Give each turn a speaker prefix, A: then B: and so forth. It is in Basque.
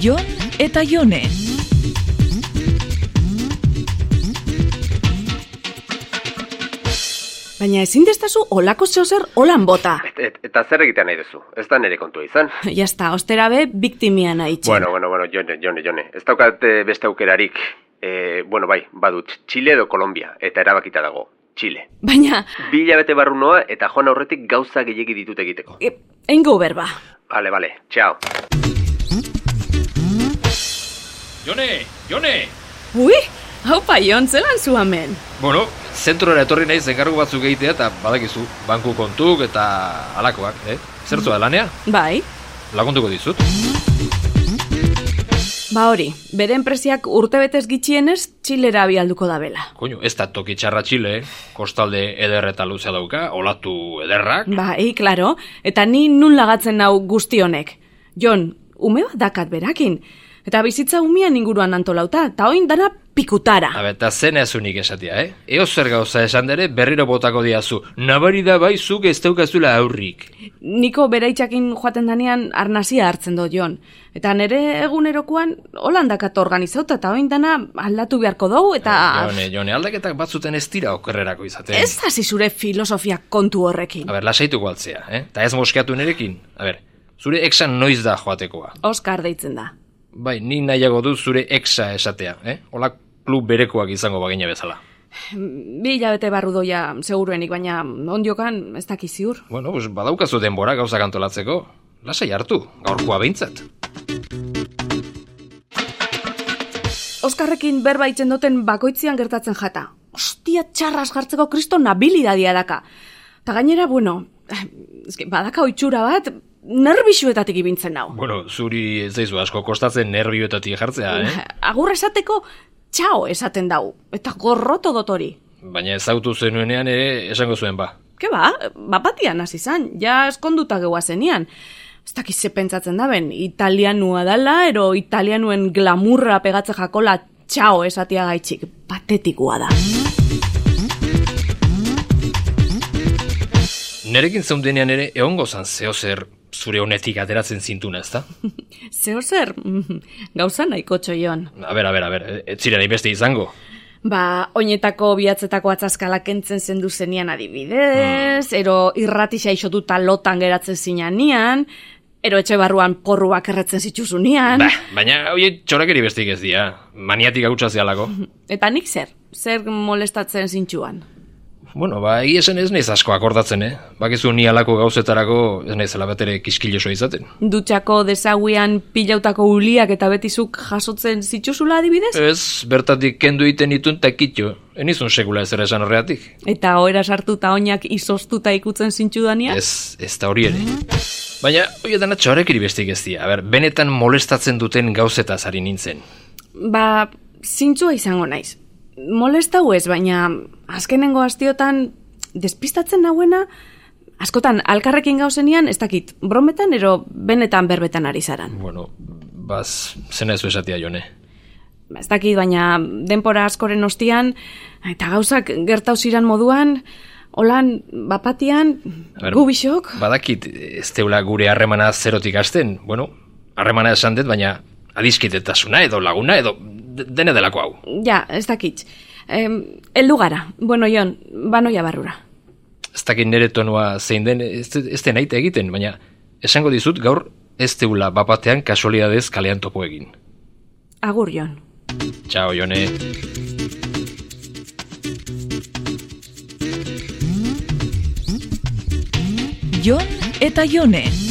A: Jon eta Jone.
B: Baina ezin destazu olako zeozer olan bota.
C: Et, et, eta zer egiten nahi duzu? Ez da nire kontua izan?
B: Jasta, ostera be, biktimian haitxe.
C: Bueno, bueno, bueno, jone, jone, jone. Ez daukat eh, beste aukerarik. E, bueno, bai, badut, Txile edo Kolombia, eta erabakita dago, Txile.
B: Baina,
C: Bi hilabete barru noa eta joan aurretik gauza gehiegi ditut egiteko.
B: e, eingo berba.
C: Bale, bale, txao.
D: Jone, Jone!
B: Ui, hau paion, zelan zu hemen.
D: Bueno, zentrora etorri naiz enkargu batzuk egitea eta badakizu, banku kontuk eta alakoak, eh? Zertzua lanea?
B: Bai,
D: Laguntuko dizut.
B: ba hori, bere enpresiak urtebetez gitxienez txilera abialduko da bela.
D: Koño, ez da toki txarra txile, eh? kostalde eder eta luzea dauka, olatu ederrak.
B: Bai, klaro, eta ni nun lagatzen nau guzti honek. Jon, ume bat dakat berakin. Eta bizitza umian inguruan antolauta, eta oin dana pikutara.
D: Habe, eta zen ezunik esatia, eh? Eo zer gauza esan dere berriro botako diazu. Nabari da bai zuk ez daukazula aurrik.
B: Niko beraitzakin joaten danean arnazia hartzen do Jon. Eta nire egunerokoan holandakat organizauta eta oin dana aldatu beharko dugu eta...
D: Jone, jone, aldaketak batzuten ez dira okerrerako izaten.
B: Ez hasi zure filosofia kontu horrekin.
D: eh. A ber, lasaituko altzea, eh? Eta ez moskeatu nerekin. A ber, zure exan noiz da joatekoa.
B: Oskar deitzen da.
D: Bai, ni nahiago dut zure exa esatea, eh? Ola klub berekoak izango bagina bezala.
B: Bi hilabete barru doia seguruenik, baina ondiokan ez daki ziur.
D: Bueno, pues badaukazu denbora gauzak antolatzeko. Lasai hartu, gaurkoa behintzat.
B: Oskarrekin berba itzen duten bakoitzian gertatzen jata. Ostia txarras jartzeko kristo nabilidadia daka. Ta gainera, bueno, eh, eske, badaka oitxura bat, nerbixuetatik ibintzen nau.
D: Bueno, zuri ez daizu asko kostatzen nervioetatik jartzea, eh?
B: Agur esateko, txao esaten dau, eta gorroto dotori.
D: Baina ezautu zenuenean ere esango zuen ba.
B: Ke ba, bapatian hasi zan, ja eskonduta geua zenian. Ez dakiz ze pentsatzen daben, italianua dala, ero italianuen glamurra pegatze jakola txao esatia gaitxik, patetikua da.
D: Nerekin zeundenean ere egongo zan zeo zer zure honetik ateratzen zintuna, ezta?
B: Zeo zer, mhm, gauza nahiko txoion.
D: A ber, a ber, a ber, ez ziren beste izango.
B: Ba, oinetako bihatzetako atzaskala kentzen zendu zenian adibidez, ero irratisa isotuta lotan geratzen zinanean, ero etxe barruan porruak erretzen zituzunean.
D: Ba, baina hoi txorakeri bestik ez dira, maniatik hautsa zealako.
B: Eta nik zer? Zer molestatzen zintxuan?
D: Bueno, ba, egia esan ez naiz asko akordatzen, eh? Bakizu ni halako gauzetarako ez naizela batere kiskiloso izaten.
B: Dutxako desaguian pilautako uliak eta betizuk jasotzen zituzula adibidez?
D: Ez, bertatik kendu egiten ditun takitxo. Enizun sekula ez esan horreatik.
B: Eta ohera sartuta oinak izostuta ikutzen zintxudania?
D: Ez, ez da hori ere. Baina, hoietan atxorekiri bestik ez dira. Aber, benetan molestatzen duten gauzetaz ari nintzen.
B: Ba, zintzua izango naiz. Molestau ez, baina azkenengo astiotan despistatzen nauena, askotan alkarrekin gauzenian, ez dakit, brometan ero benetan berbetan ari zaran.
D: Bueno, baz, zena ez esatia jone.
B: Ba, Ez dakit, baina denpora askoren ostian, eta gauzak gertau ziran moduan, holan, bapatian,
D: A ber,
B: gubixok,
D: Badakit, ez teula gure harremana zerotik hasten. Bueno, harremana esan dut, baina adiskidetasuna edo laguna edo de- dene delako hau.
B: ja, ez dakit. Em, heldu gara, bueno, Jon, banoia barrura.
D: ez dakit nire tonua zein den, ez, ez den aite egiten, baina esango dizut gaur ez teula bapatean kasualidadez kalean topo egin.
B: Agur, Jon.
D: Txao, Jone.
A: Jon eta Jone.